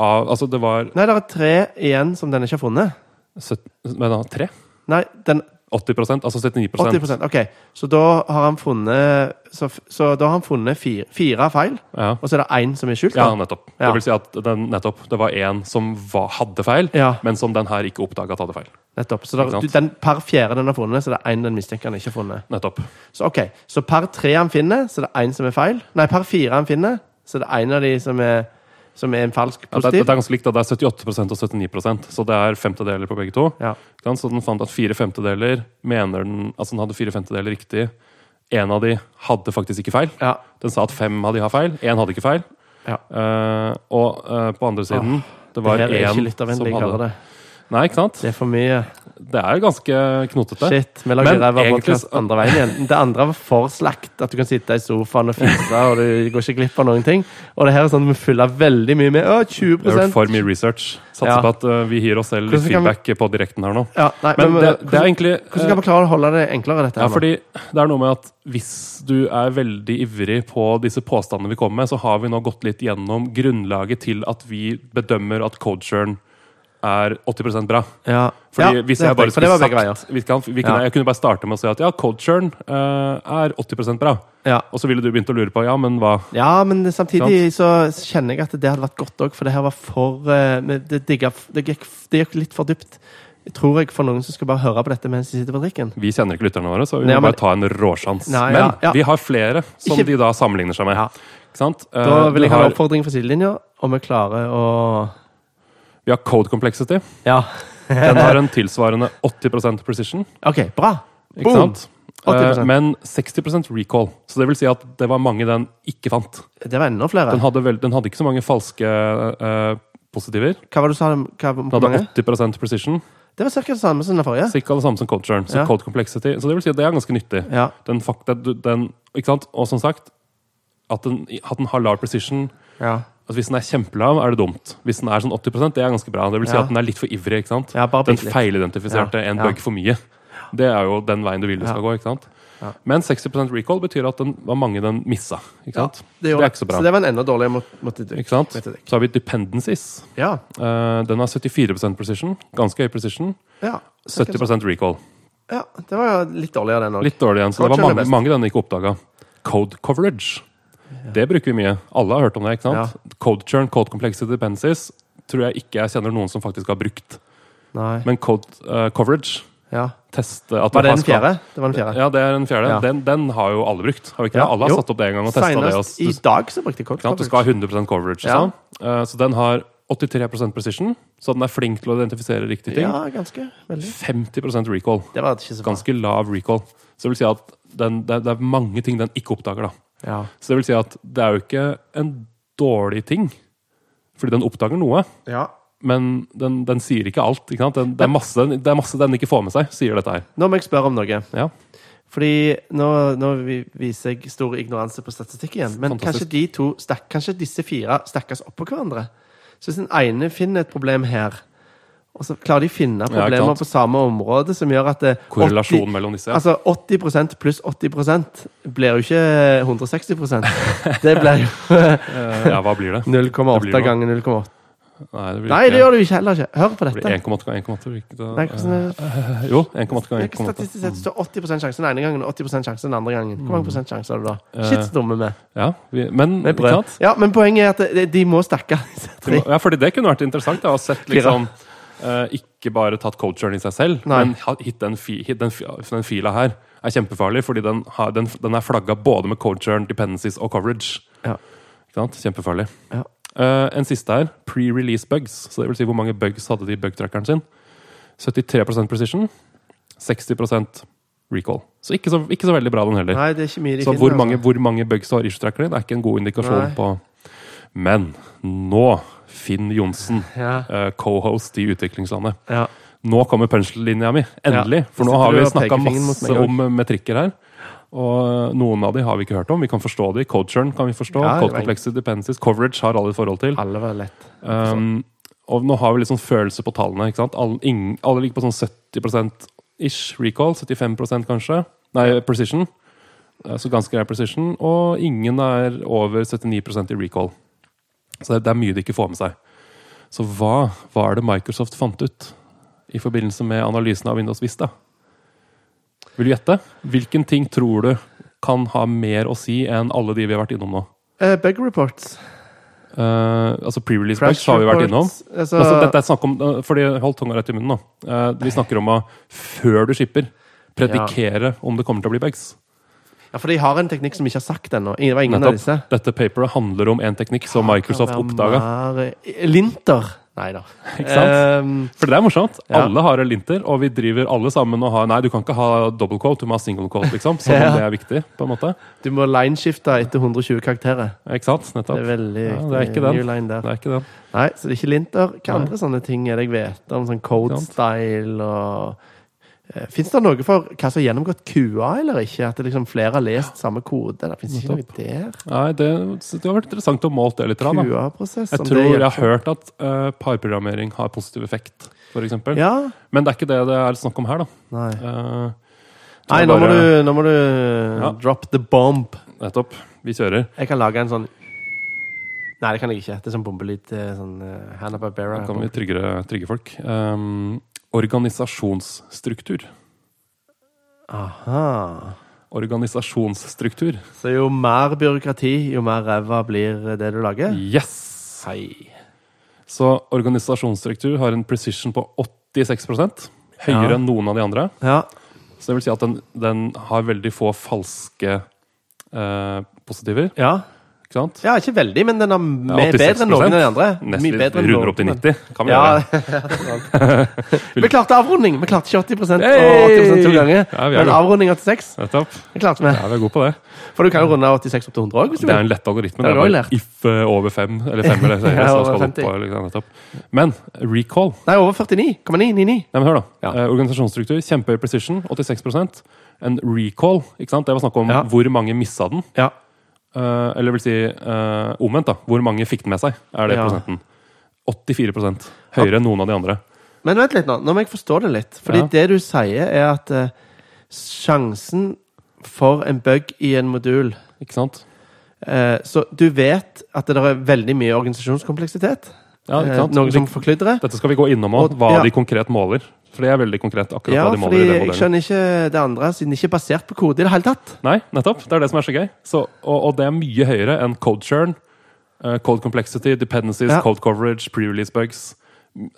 av Altså det var
Nei, det er tre igjen som den ikke har funnet.
70, men da, 3?
Nei, den
80 altså 79
80 OK. Så da har han funnet Så, f- så da har han funnet fire, fire feil,
Ja.
og så er det én som er skjult?
Ja,
da?
nettopp. Det
Ja.
vil si at den, nettopp, det var én som var, hadde feil,
Ja.
men som den her ikke oppdaga at hadde feil.
Nettopp. Så der,
Ikke sant?
du, den, per fjerde den har funnet, så er det én den mistenker han ikke har funnet.
Nettopp.
Så ok, så per tre han finner, så er det én som er feil. Nei, per fire han finner, så er det én av de som er Som er en falsk
Ja, det, det
positiv.
er ganske likt, da. Det er 78 og 79 så det er femtedeler på begge to.
Ja.
Ikke sant? Så den fant at fire femtedeler mener den Altså den hadde fire femtedeler riktig. Én av de hadde faktisk ikke feil.
Ja.
Den sa at fem av de har feil. Én hadde ikke feil.
Ja. Ah,
Eh, og eh, på andre siden Det var
Det her er ikke
én som
lyttervennlig,
hadde
kaller det.
Nei, ikke sant?
Det er for mye.
Det er ganske knotete.
Shit. Vi lager
Men
ræva
egentlig
podkast
så-
andre veien igjen. Det andre var for slakt. At du kan sitte i sofaen og fise, og du går ikke glipp av noen ting. Og det her er sånn at vi fyller veldig mye med. Å,
Vi har
20
gjort for mye research. Satser
Ja.
på at eh, vi gir oss selv litt
Hvordan kan vi-
feedback eh, på direkten her nå.
Ja, nei,
Men det, det er
hvordan,
egentlig eh,
hvordan skal vi klare å holde det enklere, dette?
Ja,
her nå?
fordi det er noe med at hvis du er veldig ivrig på disse påstandene vi kommer med, så har vi nå gått litt gjennom grunnlaget til at vi bedømmer at coacheren er 80 bra.
ja.
Fordi
Ja, det
hvis jeg
hørte jeg,
bare
for det
skulle
var begge
sagt vi kan, vi kunne,
Ja.
Jeg kunne bare starte med å si at ja, coacheren eh, er 80 bra.
veier. Ja.
Og så ville du begynt å lure på ja, men hva?
Ja, men samtidig så kjenner jeg at det hadde vært godt òg, for det her var for eh, men det, digga, det, gikk, det gikk litt for dypt. Tror jeg for noen som skal bare høre på dette mens de sitter på drikken.
Vi kjenner ikke lytterne våre, så vi
Nei,
må
men-
bare ta en råsjans.
Nei,
men
ja, ja.
vi har flere som
Ikke-
de da sammenligner seg med.
Ja.
Ikke sant? Eh,
Da
du
vil jeg ha en
har,
oppfordring fra sidelinja, om vi klarer å
vi har code complexity.
Ja.
Den har en tilsvarende 80 precision.
OK, bra.
Ikke
Boom.
sant?
80%.
Eh, Men 60 recall. Så det vil si at det var mange den ikke fant.
Det var enda flere.
Den hadde, vel, den hadde ikke så mange falske eh, positiver.
Hva var det du sa? om- Hva, om
Den
hvor mange?
hadde 80 precision.
Det var ca. det samme som den forrige.
Cirka det samme som code churn. Så
Ja.
code complexity. Så det vil si at det er ganske nyttig.
Ja.
Den fakta, du- den, ikke sant? Og som sagt, at den, at den har lav precision
Ja.
at Hvis den er kjempelav, er det dumt. Hvis den er sånn 80 det er ganske bra. Det vil si
Ja.
at den er litt for ivrig. ikke sant?
Ja, bare
den
bitte litt.
feilidentifiserte
Ja,
en
ja.
bug for mye. Det er jo den veien du vil det skal
Ja.
gå. ikke sant?
Ja.
Men 60 recall betyr at den var mange den missa. ikke sant? det,
gjorde
er
jeg.
ikke så bra.
Så det var en enda dårligere mot, mot
ikke sant?
vet jeg.
Så har vi dependencies.
Ja.
Eh, den har 74 precision. Ganske høy precision.
ja.
70 recall.
Ja, Det var jo litt dårligere, den òg.
Litt dårlig igjen, så det
Coaching
var
er
mange,
best.
mange den ikke oppdaga. Code coverage. Det bruker vi mye. Alle har hørt om det. ikke sant? Code churn, code complexity dependencies tror jeg ikke jeg kjenner noen som faktisk har brukt.
Nei.
Men code eh, coverage
Ja.
test, eh, at
Var
du
det
har
den
skap-
fjerde? Det var den fjerde.
Ja, det er den fjerde.
Ja.
Den, den har jo alle brukt. Har vi ikke
Ja,
det? Alle har
jo.
satt opp det en gang og testa det. Og, s-
Senest
du,
i dag så brukte jeg kort
ikke sant? du skal ha 100 coverage.
Ja.
Sånn. Eh, så den har 83 precision, så den er flink til å identifisere riktige ting.
Ja, ganske. Veldig.
50 recall.
Det var ikke så bra.
Ganske lav recall. Så det vil si at den, det, det er mange ting den ikke oppdager. da.
Ja.
Så det vil si at det er jo ikke en dårlig ting, fordi den oppdager noe.
ja.
Men den, den sier ikke alt. ikke sant? Den, det, er masse, den- det er masse den ikke får med seg, sier dette her.
Nå må jeg spørre om noe.
Ja.
Fordi nå, nå vi- viser jeg stor ignoranse på statistikk igjen. Men
Fantastisk.
kanskje de to, stakk, kanskje disse fire stakkes oppå hverandre? Så hvis den ene finner et problem her, og så klarer de å finne
Ja, ikke
problemer
sant.
på samme område, som gjør at det,
Korrelasjon mellom disse.
Altså 80 pluss 80 blir jo ikke
(laughs)
160 Det blir jo
Eh, ja, hva
(laughs)
blir det?
0,8
noe.
ganger 0,8.
Nei, det blir
Nei,
ikke-
det gjør du ikke heller ikke. Hør på
det
dette.
blir 1,8 ganger 1,8. blir ikke det?
Nei, hvordan er det?
Eh, Jo, 1,8
Det
ganger
er ikke
1,8.
statistisk sett så 80 sjanse den ene gangen og 80 sjanse den andre gangen.
Mm.
Hvor mange prosent sjanse har du da?
Eh,
Shit, så dumme vi.
Ja, vi, men
Vi
ikke
prøver.
sant?
Ja, men poenget er at de- de må stakke. (laughs) disse
Du
tre.
må- Ja, fordi det kunne vært interessant da, å sett liksom eh, Ikke bare tatt coacheren i seg selv,
Nei.
men ha- hit den, fi, hit den, fi, den fila her er kjempefarlig, fordi den, har, den, den er flagga både med coacheren, dependencies og coverage.
Ja.
Ikke sant? Kjempefarlig.
Ja.
Eh, en siste her. Pre-release bugs. Så det vil si hvor mange bugs hadde de i bugtrackeren sin. 73 precision. 60 recall. Så ikke, så ikke så veldig bra, den heller.
Nei, det er ikke mye de
Så
finner.
hvor mange,
altså.
hvor mange bugs du har i issue-trackeren din, er ikke en god indikasjon
Nei.
på Men nå, Finn Johnsen,
Ja.
eh, co-host i Utviklingslandet.
Ja.
Nå kommer punchlinja mi. Endelig!
Ja.
For nå
Sitter
har
du
vi
og peker
snakka
fingeren mot
masse
meg
om eh, metrikker her. Og eh, noen av de har vi ikke hørt om. Vi kan forstå de. Coacheren kan vi forstå.
Ja, det
Code
var-
complexity, dependencies, coverage har alle forhold til.
Alle var lett.
Um, og nå har vi litt sånn følelse på tallene. ikke sant? Alle, ingen, alle ligger på sånn 70 ish recall. 75 kanskje. Nei, precision. Eh, Så ganske grei precision. Og ingen er over 79 i recall. Så det, det er mye de ikke får med seg. Så hva var det Microsoft fant ut i forbindelse med analysen av Windows Vista? Vil du gjette? Hvilken ting tror du kan ha mer å si enn alle de vi har vært innom nå?
Eh, bug reports.
Eh, altså pre-release bugs
Crash
har vi vært innom.
reports. Altså,
Altså, dette er snakk om, eh, fordi, hold tunga rett i munnen, da. Eh, Vi snakker om å, før du skipper, predikere om det kommer til å bli bugs.
Ja, for de har en teknikk som vi ikke har sagt ennå. Ingen- Det var ingen av disse.
Nettopp. Dette paperet handler om en teknikk som Microsoft
Kan være
oppdaga.
mer- Linter. Nei da.
Ikke sant?
Ehm,
For det er morsomt.
Ja.
Alle har en linter, og vi driver alle sammen og har Nei, du kan ikke ha double quote, du må ha single quote,
(laughs)
liksom. Som om
Ja.
det er viktig, på en måte.
du må lineskifte etter 120 karakterer.
Ikke sant?
Det er
Nettopp.
veldig
Ja,
viktig.
det er ikke den.
New line der.
Det er ikke den.
Nei, så det er ikke linter. Hva
Nei.
andre sånne ting er det jeg vet om? Sånn
Ikke sant.
code-style og Fins det noe for hva som har gjennomgått QA eller ikke? At det liksom flere har lest samme kode? Det fins ikke noe der.
Nei, det, så det har vært interessant å måle det litt. grann, Da.
QA-prosess.
Jeg
om
tror
det
jeg
hjelper.
har hørt at eh, parprogrammering har positiv effekt, f.eks. eksempel
Ja?
Men det er ikke det det er snakk om her, da.
Nei.
Eh,
Nei,
jeg
nå må
bare-
du, nå må du
Ja.
drop the bomb.
nettopp. Vi kjører.
Jeg kan lage en sånn Nei, det kan jeg ikke. Det er sånn bombelyd. det er Sånn uh, Hannah Barbera.
Da kan vi tryggere, trygge folk. Um, organisasjonsstruktur.
Aha.
Organisasjonsstruktur.
Så jo mer byråkrati, jo mer ræva blir det du lager.
Yes!
Hei.
Så organisasjonsstruktur har en precision på 86 Høyere
Ja.
enn noen av de andre.
Ja.
Så det vil si at den, den har veldig få falske eh, positiver.
ja.
Ikke sant?
Ja, ikke veldig, men den er mer
86%.
bedre enn noen av de andre.
Nesten
Mye bedre enn
runder opp til
noen.
90. Kan vi
(laughs) Ja,
gjøre det?
vi klarte avrunding! Vi klarte ikke 80
Hey!
og 80 to ganger.
Ja, vi er
men
gode.
avrunding 86
Nettopp.
det klarte vi.
Ja, vi er gode på det.
For du kan jo runde 86 opp til 100 òg, hvis du
Det er
vil.
en lett algoritme.
Det har
Det er
du også
bare
lært.
if eh, over 5 eller
(laughs)
5 eller 6,
Ja,
så
over
skal det opp
50.
på liksom, nettopp. Men recall
Nei, over 49,999.
Nei, men hør da.
Ja.
Eh, organisasjonsstruktur, kjempehøy precision, 86 En recall, ikke sant? Det var snakk om
Ja.
hvor mange missa den.
Ja.
Eh, eller vil si eh, omvendt, da. Hvor mange fikk den med seg? Er det
Ja.
prosenten. 84 Høyere enn noen av de andre.
Men vent litt nå, nå må jeg forstå det litt. Fordi
Ja.
det du sier, er at eh, sjansen for en bug i en modul
Ikke sant?
eh, Så du vet at det der er veldig mye organisasjonskompleksitet.
Ja,
eh,
ikke sant?
Noe som
Vi-
forkludrer.
Dette skal vi gå innom òg,
Og-
hva
ja.
de konkret måler. For det er veldig konkret akkurat
Ja,
hva
fordi
de måler i den
jeg
modellen.
skjønner ikke det andre, siden det ikke er basert på kode i det hele tatt.
Nei, nettopp. Det er det som er så gøy. Så, og, og det er mye høyere enn code churn, eh, code complexity, dependencies,
Ja.
code coverage, pre-release bugs.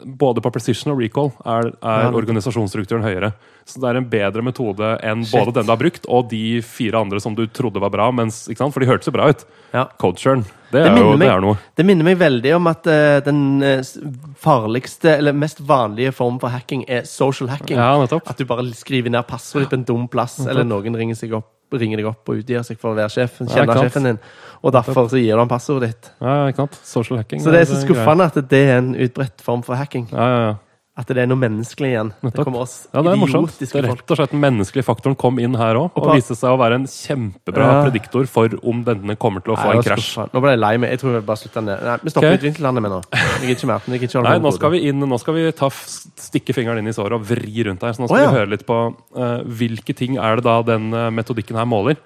Både på precision og recall er, er
Ja, nettopp.
organisasjonsstrukturen høyere. Så det er en bedre metode enn
Shit.
både den du har brukt, og de fire andre som du trodde var bra, mens, ikke sant? for de hørtes jo bra ut.
Ja.
Code churn, det,
Det
er jo
minner
det
meg-
er noe.
Det minner meg veldig om at eh, den eh, s- farligste, eller mest vanlige formen for hacking er social hacking.
Ja, nettopp.
At du bare skriver ned passordet på en dum plass, eller noen ringer, seg opp, ringer deg opp og utgir seg for å være sjefen,
Ja,
kjenne
ikke sant.
sjefen din. Og derfor så gir du ham passordet ditt.
Ja, ikke sant? Social hacking.
Så det er så
greia.
skuffende at det er en utbredt form for hacking.
Ja, ja, ja.
At det er noe menneskelig igjen. Det
Nettopp.
kommer oss
Ja, det er morsomt. Det
idiotiske
er
folk.
rett og slett Den menneskelige faktoren kom inn her òg, og
pa-
viste seg å være en kjempebra
Ja.
prediktor for om denne kommer til å få
Nei,
en
det var
krasj.
skuffende. Nå ble jeg lei meg. Jeg tror vi bare slutter ned. Nei, vi stopper
Ok.
utviklingslandet med nå. Jeg gidder ikke mer. Jeg gidder ikke holde
Nei,
på
nå
med
skal
kode.
vi inn, nå skal vi ta, f- stikke fingeren inn i såret og vri rundt her. Så nå skal
Å, ja.
vi høre litt på eh, hvilke ting er det da den eh, metodikken her måler.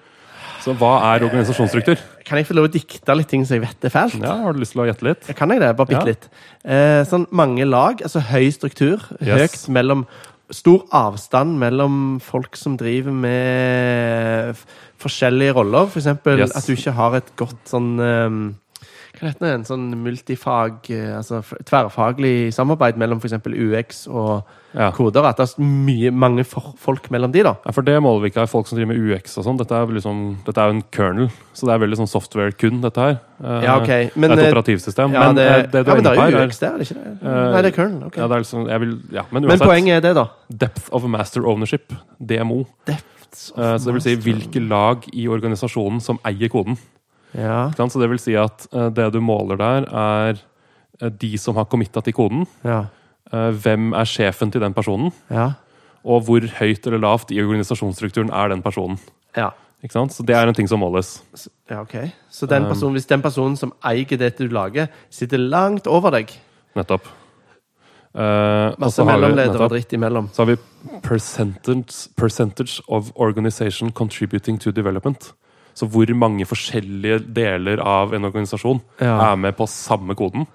Så hva er organisasjonsstruktur?
Kan jeg få lov å dikte litt ting som jeg vet er fælt?
Ja, Har du lyst til å gjette litt?
Kan jeg det? Bare bitte
Ja.
litt. Eh, sånn mange lag, altså høy struktur. Høyt
Yes.
mellom Stor avstand mellom folk som driver med f- forskjellige roller. For eksempel
Yes.
at du ikke har et godt sånn eh, hva heter det? En sånn multifag, eh, altså f- tverrfaglig samarbeid mellom f.eks. UX og
Ja.
koder. At det er mye, mange for, folk mellom de, da.
Ja, for det måler vi ikke her. Folk som driver med UX og sånn. Dette er vel liksom, dette er jo en kernel, så det er veldig sånn software kun, dette her. Eh,
Ja, ok. Men,
det er
eh,
et operativsystem.
Ja,
men
det,
det, det du
ja,
er
men det
inne på
er
her,
jo
er,
UX, det er det ikke det?
Eh,
Nei, det er kernel. ok.
ja, det er liksom, jeg vil, ja, men
men
uansett.
poenget er det, da.
Depth of Master Ownership, DMO.
Depths of
Eh, Så det vil si
master.
hvilke lag i organisasjonen som eier koden.
Ja,
Ikke sant? Så det vil si at eh, det du måler der, er eh, de som har committa til koden.
ja,
eh, Hvem er sjefen til den personen?
ja.
Og hvor høyt eller lavt i organisasjonsstrukturen er den personen?
Ja,
Ikke sant? Så det er en ting som måles.
S- ja ok. Så den
Um,
personen, hvis den personen som eier det du lager, sitter langt over deg
Nettopp. Eh, og
Masse
så har vi-
mellomledere og
nettopp.
dritt imellom.
Så har vi percentage, percentage of organization contributing to development. Så hvor mange forskjellige deler av en organisasjon
Ja.
er med på samme koden.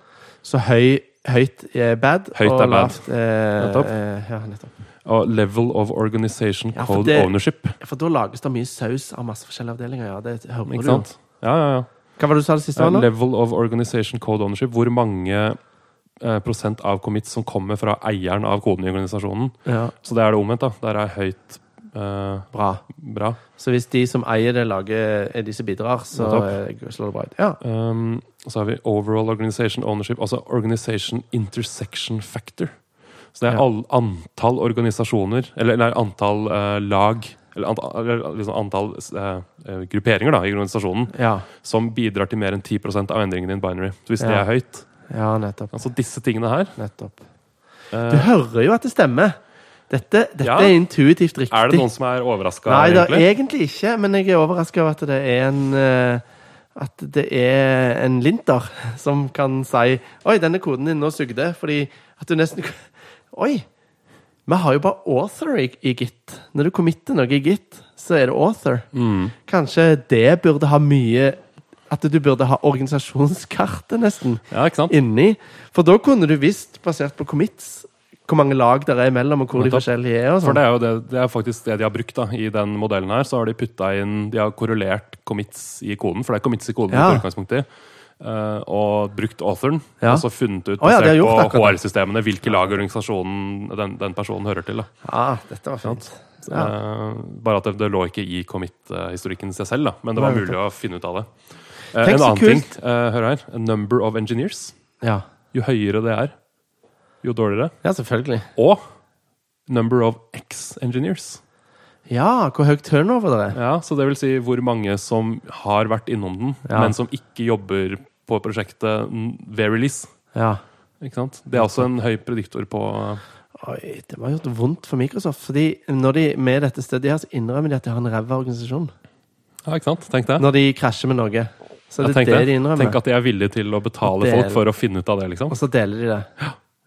Så høy, høyt er bad,
Høyt
og
er bad.
lavt er
Nettopp.
eh, ja, nettopp.
Og level of organization
Ja, for
code
det-
ownership.
For da lages det mye saus av masse forskjellige avdelinger. ja, det hører
Ikke
du jo.
sant? Ja, ja, ja.
Hva var det du sa det siste? var nå?
level of organization code ownership. Hvor mange eh, prosent av commits som kommer fra eieren av koden i organisasjonen.
Ja.
Så det er det omvendt. da. Der er høyt Eh,
Bra.
bra.
Så hvis de som eier det laget, er de som bidrar, så eh, slår det bra ut. Ja.
Um, og så har vi overall organization ownership, altså organization intersection factor. Så det er
Ja.
all, antall organisasjoner, eller, eller antall eh, lag, eller, ant, eller liksom antall eh, eh, grupperinger da, i organisasjonen,
Ja,
som bidrar til mer enn 10 av endringen din binary. Så hvis det
Ja.
er høyt
ja nettopp.
Altså disse tingene her
nettopp. Du
eh,
hører jo at det stemmer. Dette, dette
Ja.
er intuitivt riktig.
Er det noen som er overraska,
Nei, det
egentlig?
er egentlig ikke, men jeg er overraska over at det er en eh, At det er en linter som kan si Oi, denne koden din nå sugde, fordi at du nesten Oi! Vi har jo bare author i, i Git. Når du committer noe i Git, så er det author.
Mm.
Kanskje det burde ha mye At du burde ha organisasjonskartet, nesten
Ja, ikke sant?
inni. For da kunne du visst, basert på commits, hvor mange lag der er imellom, og hvor de
Nettopp.
forskjellige er. og
For
sånn.
det er jo det, det er faktisk det de har brukt da, i den modellen her. Så har de putta inn De har korrelert commits i koden, for det er commits i koden.
Ja.
i utgangspunktet, eh, Og brukt authoren.
Ja.
Og så funnet ut,
Å ja,
basert
de har gjort
på
akkurat
HR-systemene, hvilke lag i organisasjonen den, den personen hører til. da.
Ja, Ah, dette var fint.
Så,
Ja.
eh, bare at det, det lå ikke i commit-historikken seg selv, da. men det var
Nei,
mulig å finne ut av det. Eh,
Tenk
en
så
annen ting, eh, hør her. Number of engineers.
Ja.
Jo høyere det er, jo dårligere.
ja, selvfølgelig.
Og number of ex-engineers.
Ja, hvor høy turnover det er.
Ja, så det vil si hvor mange som har vært innom den,
Ja.
men som ikke jobber på prosjektet n- ved release.
Ja.
Ikke sant? Det er også en høy prediktor på
Oi, det var gjort vondt for Microsoft. fordi når de med dette stedet her, så innrømmer de at de har en ræva organisasjon.
Ja, ikke sant? Tenk det.
Når de krasjer med noe. Så
Ja,
det er det
tenk, det.
de innrømmer.
tenk at de er villige til å betale
Det er-
folk for å finne ut av det, liksom.
Og så deler de det.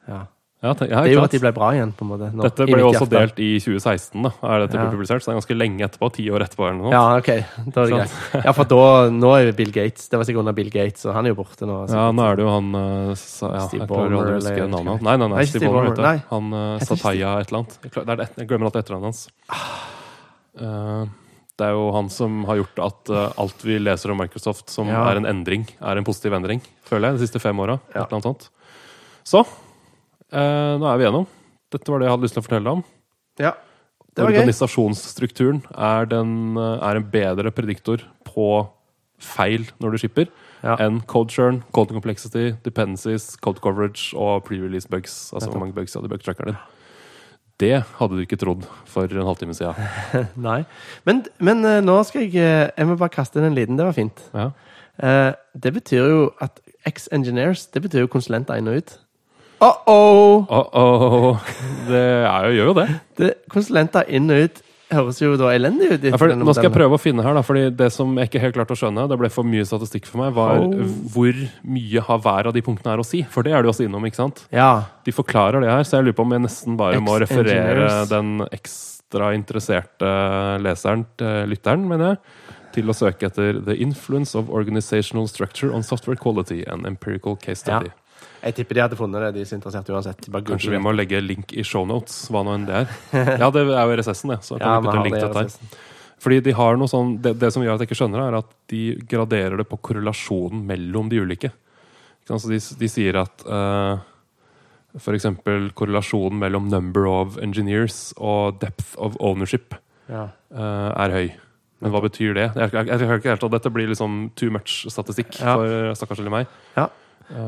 Ja.
Ja, tenk, ja,
Det
ikke
gjorde at de
sant?
ble bra igjen, på en måte. nå,
Dette
i
ble
mitt
jo også
hjerte.
delt i 2016, da. Er dette
Ja.
blitt publisert? Så det er ganske lenge etterpå. Ti år etterpå, eller noe. sånt.
Ja, ok. Da er det greit. Ja, for da, nå er jo Bill Gates Det var sikkert under Bill Gates, og han er jo borte nå. altså.
Ja, nå er det jo han eh, sa, ja,
Steve
Jeg klarer
Ballmer,
aldri å huske
eller-
navnet hans. Nei, nei, nei,
Nei, ikke
Steve
Steve
Ballmer,
Ballmer,
vet du.
nei.
Han eh,
Heter ikke
Sataya et eller annet. Jeg, klar, det er det, jeg glemmer alt etternavnet hans. Eh, det er jo han som har gjort at eh, alt vi leser om Microsoft som
Ja.
er en endring, er en positiv endring, føler jeg, de siste fem åra. Et
Ja.
eller annet sånt. Så eh, nå er vi gjennom. Dette var det jeg hadde lyst til å fortelle om.
Ja. Det var gøy.
Organisasjonsstrukturen er, den, eh, er en bedre prediktor på feil når du shipper,
Ja.
enn code churn, code complexity, dependencies, code coverage og pre-release bugs. Altså hvor mange bugs du hadde i bug trackeren din. Det hadde du ikke trodd for en halvtime siden.
Nei. Men, men eh, nå skal jeg eh, Jeg må bare kaste inn en liten. Det var fint.
Ja.
Eh, det betyr jo at X-engineers Det betyr jo konsulenter inn og ut. Uh-oh!
Oh, oh, det er jo, gjør jo det.
Det, konsulenter inn og ut høres jo da elendig ut. i
Ja, for,
denne
nå skal jeg
modellen.
prøve å finne her, da, fordi det som jeg ikke helt klarte å skjønne, det ble for mye statistikk for meg, var
Oh.
hvor mye har hver av de punktene her å si? For det er det jo også innom, ikke sant?
Ja.
De forklarer det her, så jeg lurer på om jeg nesten bare må referere
Ex-engineers.
den ekstra interesserte leseren, til lytteren, mener jeg, til å søke etter The Influence of Organizational Structure on Software Quality, an Empirical Case
ja.
Study.
Jeg tipper de hadde funnet det, de som er interessert uansett. De bare
Kanskje
googler
vi må legge link i shownotes, hva nå enn det er. Ja, det er jo RSS-en, det. Så
det.
kan
Ja,
vi putte en
vi
link
har det
til
i
dette her. Fordi de har noe sånn, det, det som gjør at jeg ikke skjønner det, er at de graderer det på korrelasjonen mellom de ulike. Ikke sant? Så de, de sier at eh, for f.eks. korrelasjonen mellom number of engineers og depth of ownership
Ja.
eh, er høy. Men hva betyr det? Jeg, jeg, jeg, klarer ikke helt, og Dette blir liksom too much statistikk
Ja.
for stakkars lille meg. Eh,
Ja.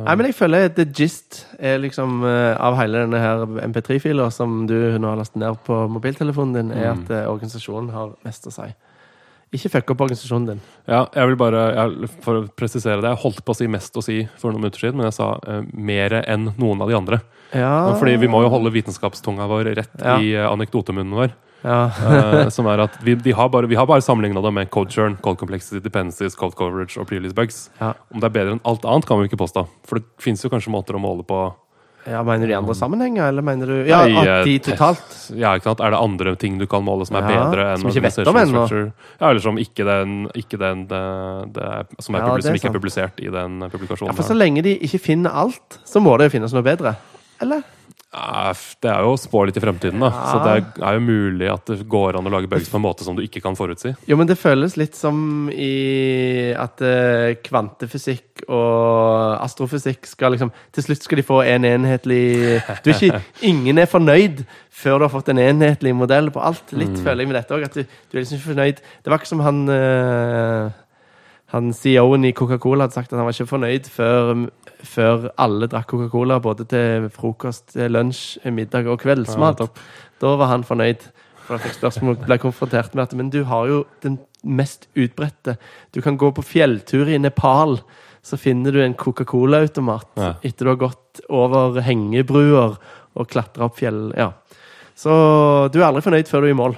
Nei, men jeg føler at the gist er liksom eh, av hele denne her MP3-fila som du nå har lastet ned på mobiltelefonen din, er
Mm.
at eh, organisasjonen har mest å si. Ikke fuck opp organisasjonen din.
Ja, jeg vil bare, jeg, For å presisere det, jeg holdt på å si mest å si for noen minutter siden, men jeg sa uh, mere enn noen av de andre.
Ja,
Fordi vi må jo holde vitenskapstunga vår rett
Ah. Ja.
i eh, anekdotemunnen vår.
(laughs) ja.
Eh, som er at vi, de har bare, vi har bare sammenligna det med code churn, code complexity, dependencies, code coverage og pre-release bugs.
Ja.
Om det er bedre enn alt annet, kan vi jo ikke påstå. For det fins jo kanskje måter å måle på
ja, Mener du i andre sammenhenger, eller mener du Ja,
Mm. Nei,
at de
eh,
totalt
ja, ikke sant? Er det andre ting du kan måle som er
Ja,
bedre enn
som vi ikke vet om
organizational
ennå.
structure? Ja, eller som ikke den, ikke den det, det er, som, er
Ja,
publis-
det er
som ikke
sant.
er publisert i den eh,
Ja,
publikasjonen.
For så
her.
lenge de ikke finner alt, så må det jo finnes noe bedre. Eller?
Eh, f- Det er jo å spå litt i fremtiden, da. Så det er- er jo mulig at det går an å lage bugs på en måte som du ikke kan forutsi.
Jo, men det føles litt som i at eh, kvantefysikk og astrofysikk skal liksom Til slutt skal de få en enhetlig du er
(laughs)
ikke, Ingen er fornøyd før du har fått en enhetlig modell på alt.
Mm.
Litt føler jeg med dette òg, at du, du er liksom ikke fornøyd. Det var ikke som han eh, han CEO-en i Coca-Cola hadde sagt at han var ikke fornøyd før, før alle drakk Coca-Cola, både til frokost, til lunsj, middag og kveldsmat.
Ja, topp.
da var han fornøyd. For han fikk spørsmål ble konfrontert med at Men du har jo den mest utbredte. Du kan gå på fjelltur i Nepal, så finner du en Coca-Cola-automat
Ja.
etter du har gått over hengebruer og klatra opp fjell. Ja. Så du er aldri fornøyd før du er i mål.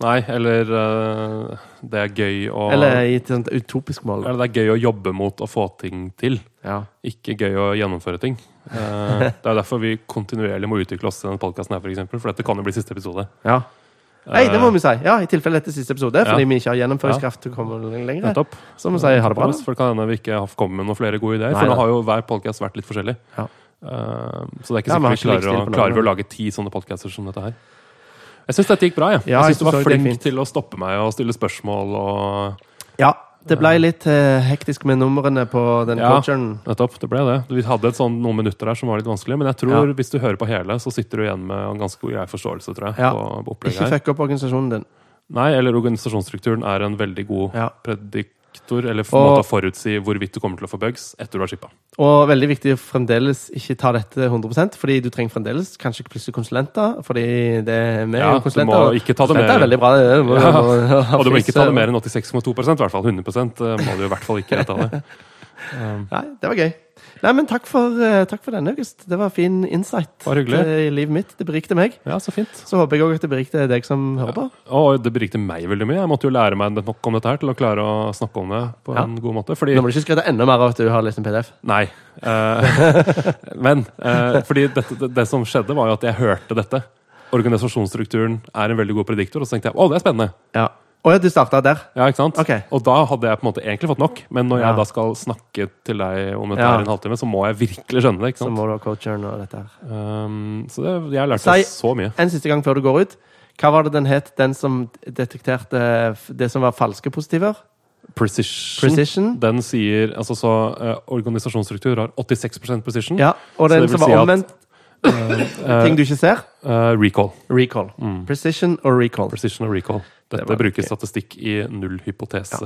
Nei, eller eh, det er gøy å
Eller i et sånt utopisk mål.
eller det er gøy å jobbe mot å få ting til.
Ja.
Ikke gøy å gjennomføre ting.
(laughs)
Eh, Det er derfor vi kontinuerlig må utvikle oss i denne podkasten her, for eksempel. For dette kan jo bli siste episode.
ja. Nei, det må
Eh,
vi si. Ja, I tilfelle dette er siste episode, fordi
Ja.
vi ikke har gjennomføringskraft til å komme lenger.
Nettopp.
Så må vi si ha det bra. da.
For det kan hende vi ikke har kommet med noen flere gode ideer.
Nei,
for nå
da.
har jo hver podkast vært litt forskjellig.
Ja.
Eh, så det er ikke
Ja, men har
sikkert vi
ikke
klarer, å,
likestil på
klarer vi å
laget.
lage ti sånne podcaster som dette her. Jeg syns dette gikk bra. Jeg,
Ja, jeg
jeg syns
synes
du var
også det gikk
flink
fint.
til å stoppe meg og stille spørsmål og
Ja, det ble litt eh, hektisk med numrene på den
Ja.
coacheren.
Nettopp. Det ble det. Vi hadde et sånn noen minutter her som var litt vanskelig, men jeg tror
Ja.
hvis du hører på hele, så sitter du igjen med en ganske grei forståelse, tror jeg.
Ja.
På, på
Ikke
opplegget her.
fuck opp organisasjonen din.
Nei, eller organisasjonsstrukturen er en veldig god
Ja.
prediktor, eller for
Og-
måte å forutsi hvorvidt du kommer til å få bugs etter du har shippa.
Og veldig viktig å fremdeles ikke ta dette 100 fordi du trenger fremdeles kanskje ikke plutselig konsulenter. Fordi det er vi
Ja,
jo
du
konsulenter.
må
og
ikke ta det
konsulenter
mer.
er veldig bra. det må-
Ja.
må-
(laughs)
ha
Og du må ikke
flis,
ta det
og-
mer enn 86,2 i hvert fall 100 må du i hvert fall ikke ta
(laughs)
det. Um,
Nei, det var gøy. Nei, men takk for, eh, takk for denne, August. Det var fin insight
Bare hyggelig.
til livet mitt. Det berikte meg.
Ja, så fint.
Så håper jeg òg at det berikte deg som hører på.
Og det berikte meg veldig mye. Jeg måtte jo lære meg nok om dette her til å klare å snakke om det på
Ja.
en god måte. Fordi
Nå må du ikke skryte enda mer av at du har lest en PDF.
Nei. eh, (laughs) men eh, fordi dette, det, det som skjedde, var jo at jeg hørte dette. Organisasjonsstrukturen er en veldig god prediktor, og så tenkte jeg å, det er spennende.
Ja. Å ja, du starta der?
Ja, ikke sant?
Ok.
Og da hadde jeg på en måte egentlig fått nok, men når jeg
Ja.
da skal snakke til deg om dette
Ja.
her i en halvtime, så må jeg virkelig skjønne det. ikke
Så
sant?
må du ha coacheren og dette her.
Um, så det, jeg lærte
Si-
så mye.
En siste gang før du går ut. Hva var det den het, den som detekterte f- det som var falske positiver?
Precision.
Precision.
Den sier altså så eh, Organisasjonsstruktur har 86 precision.
Ja, Og
Så
den
det vil
som var
si at-
omvendt,
Eh,
ting du ikke ser? Mm.
eh, recall.
Recall. Precision og recall.
Precision og recall. Dette
Det var
bruker
gøy.
statistikk i null hypotese.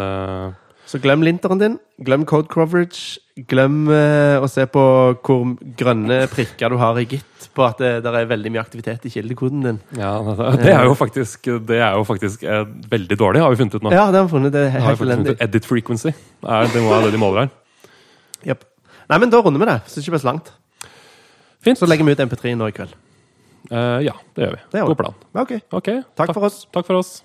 Så glem linteren din, glem code coverage, glem eh, å se på hvor grønne prikker du har i gitt på at det der er veldig mye aktivitet i kildekoden din.
Ja, det- det er jo faktisk, det er jo faktisk eh, veldig dårlig, har vi funnet ut nå.
Ja, det har vi funnet. Det er
Har vi
helt
faktisk funnet
elendig.
ut. Edit frequency. Er, det må være det de måler her.
Jep. Nei, men da runder vi det. Syns ikke det ble så langt.
Fint.
Så legger vi ut MP3 nå i kveld.
Eh, ja, det gjør vi.
Det gjør vi.
God plan.
Ok.
Ok.
Takk for oss.
Takk for oss.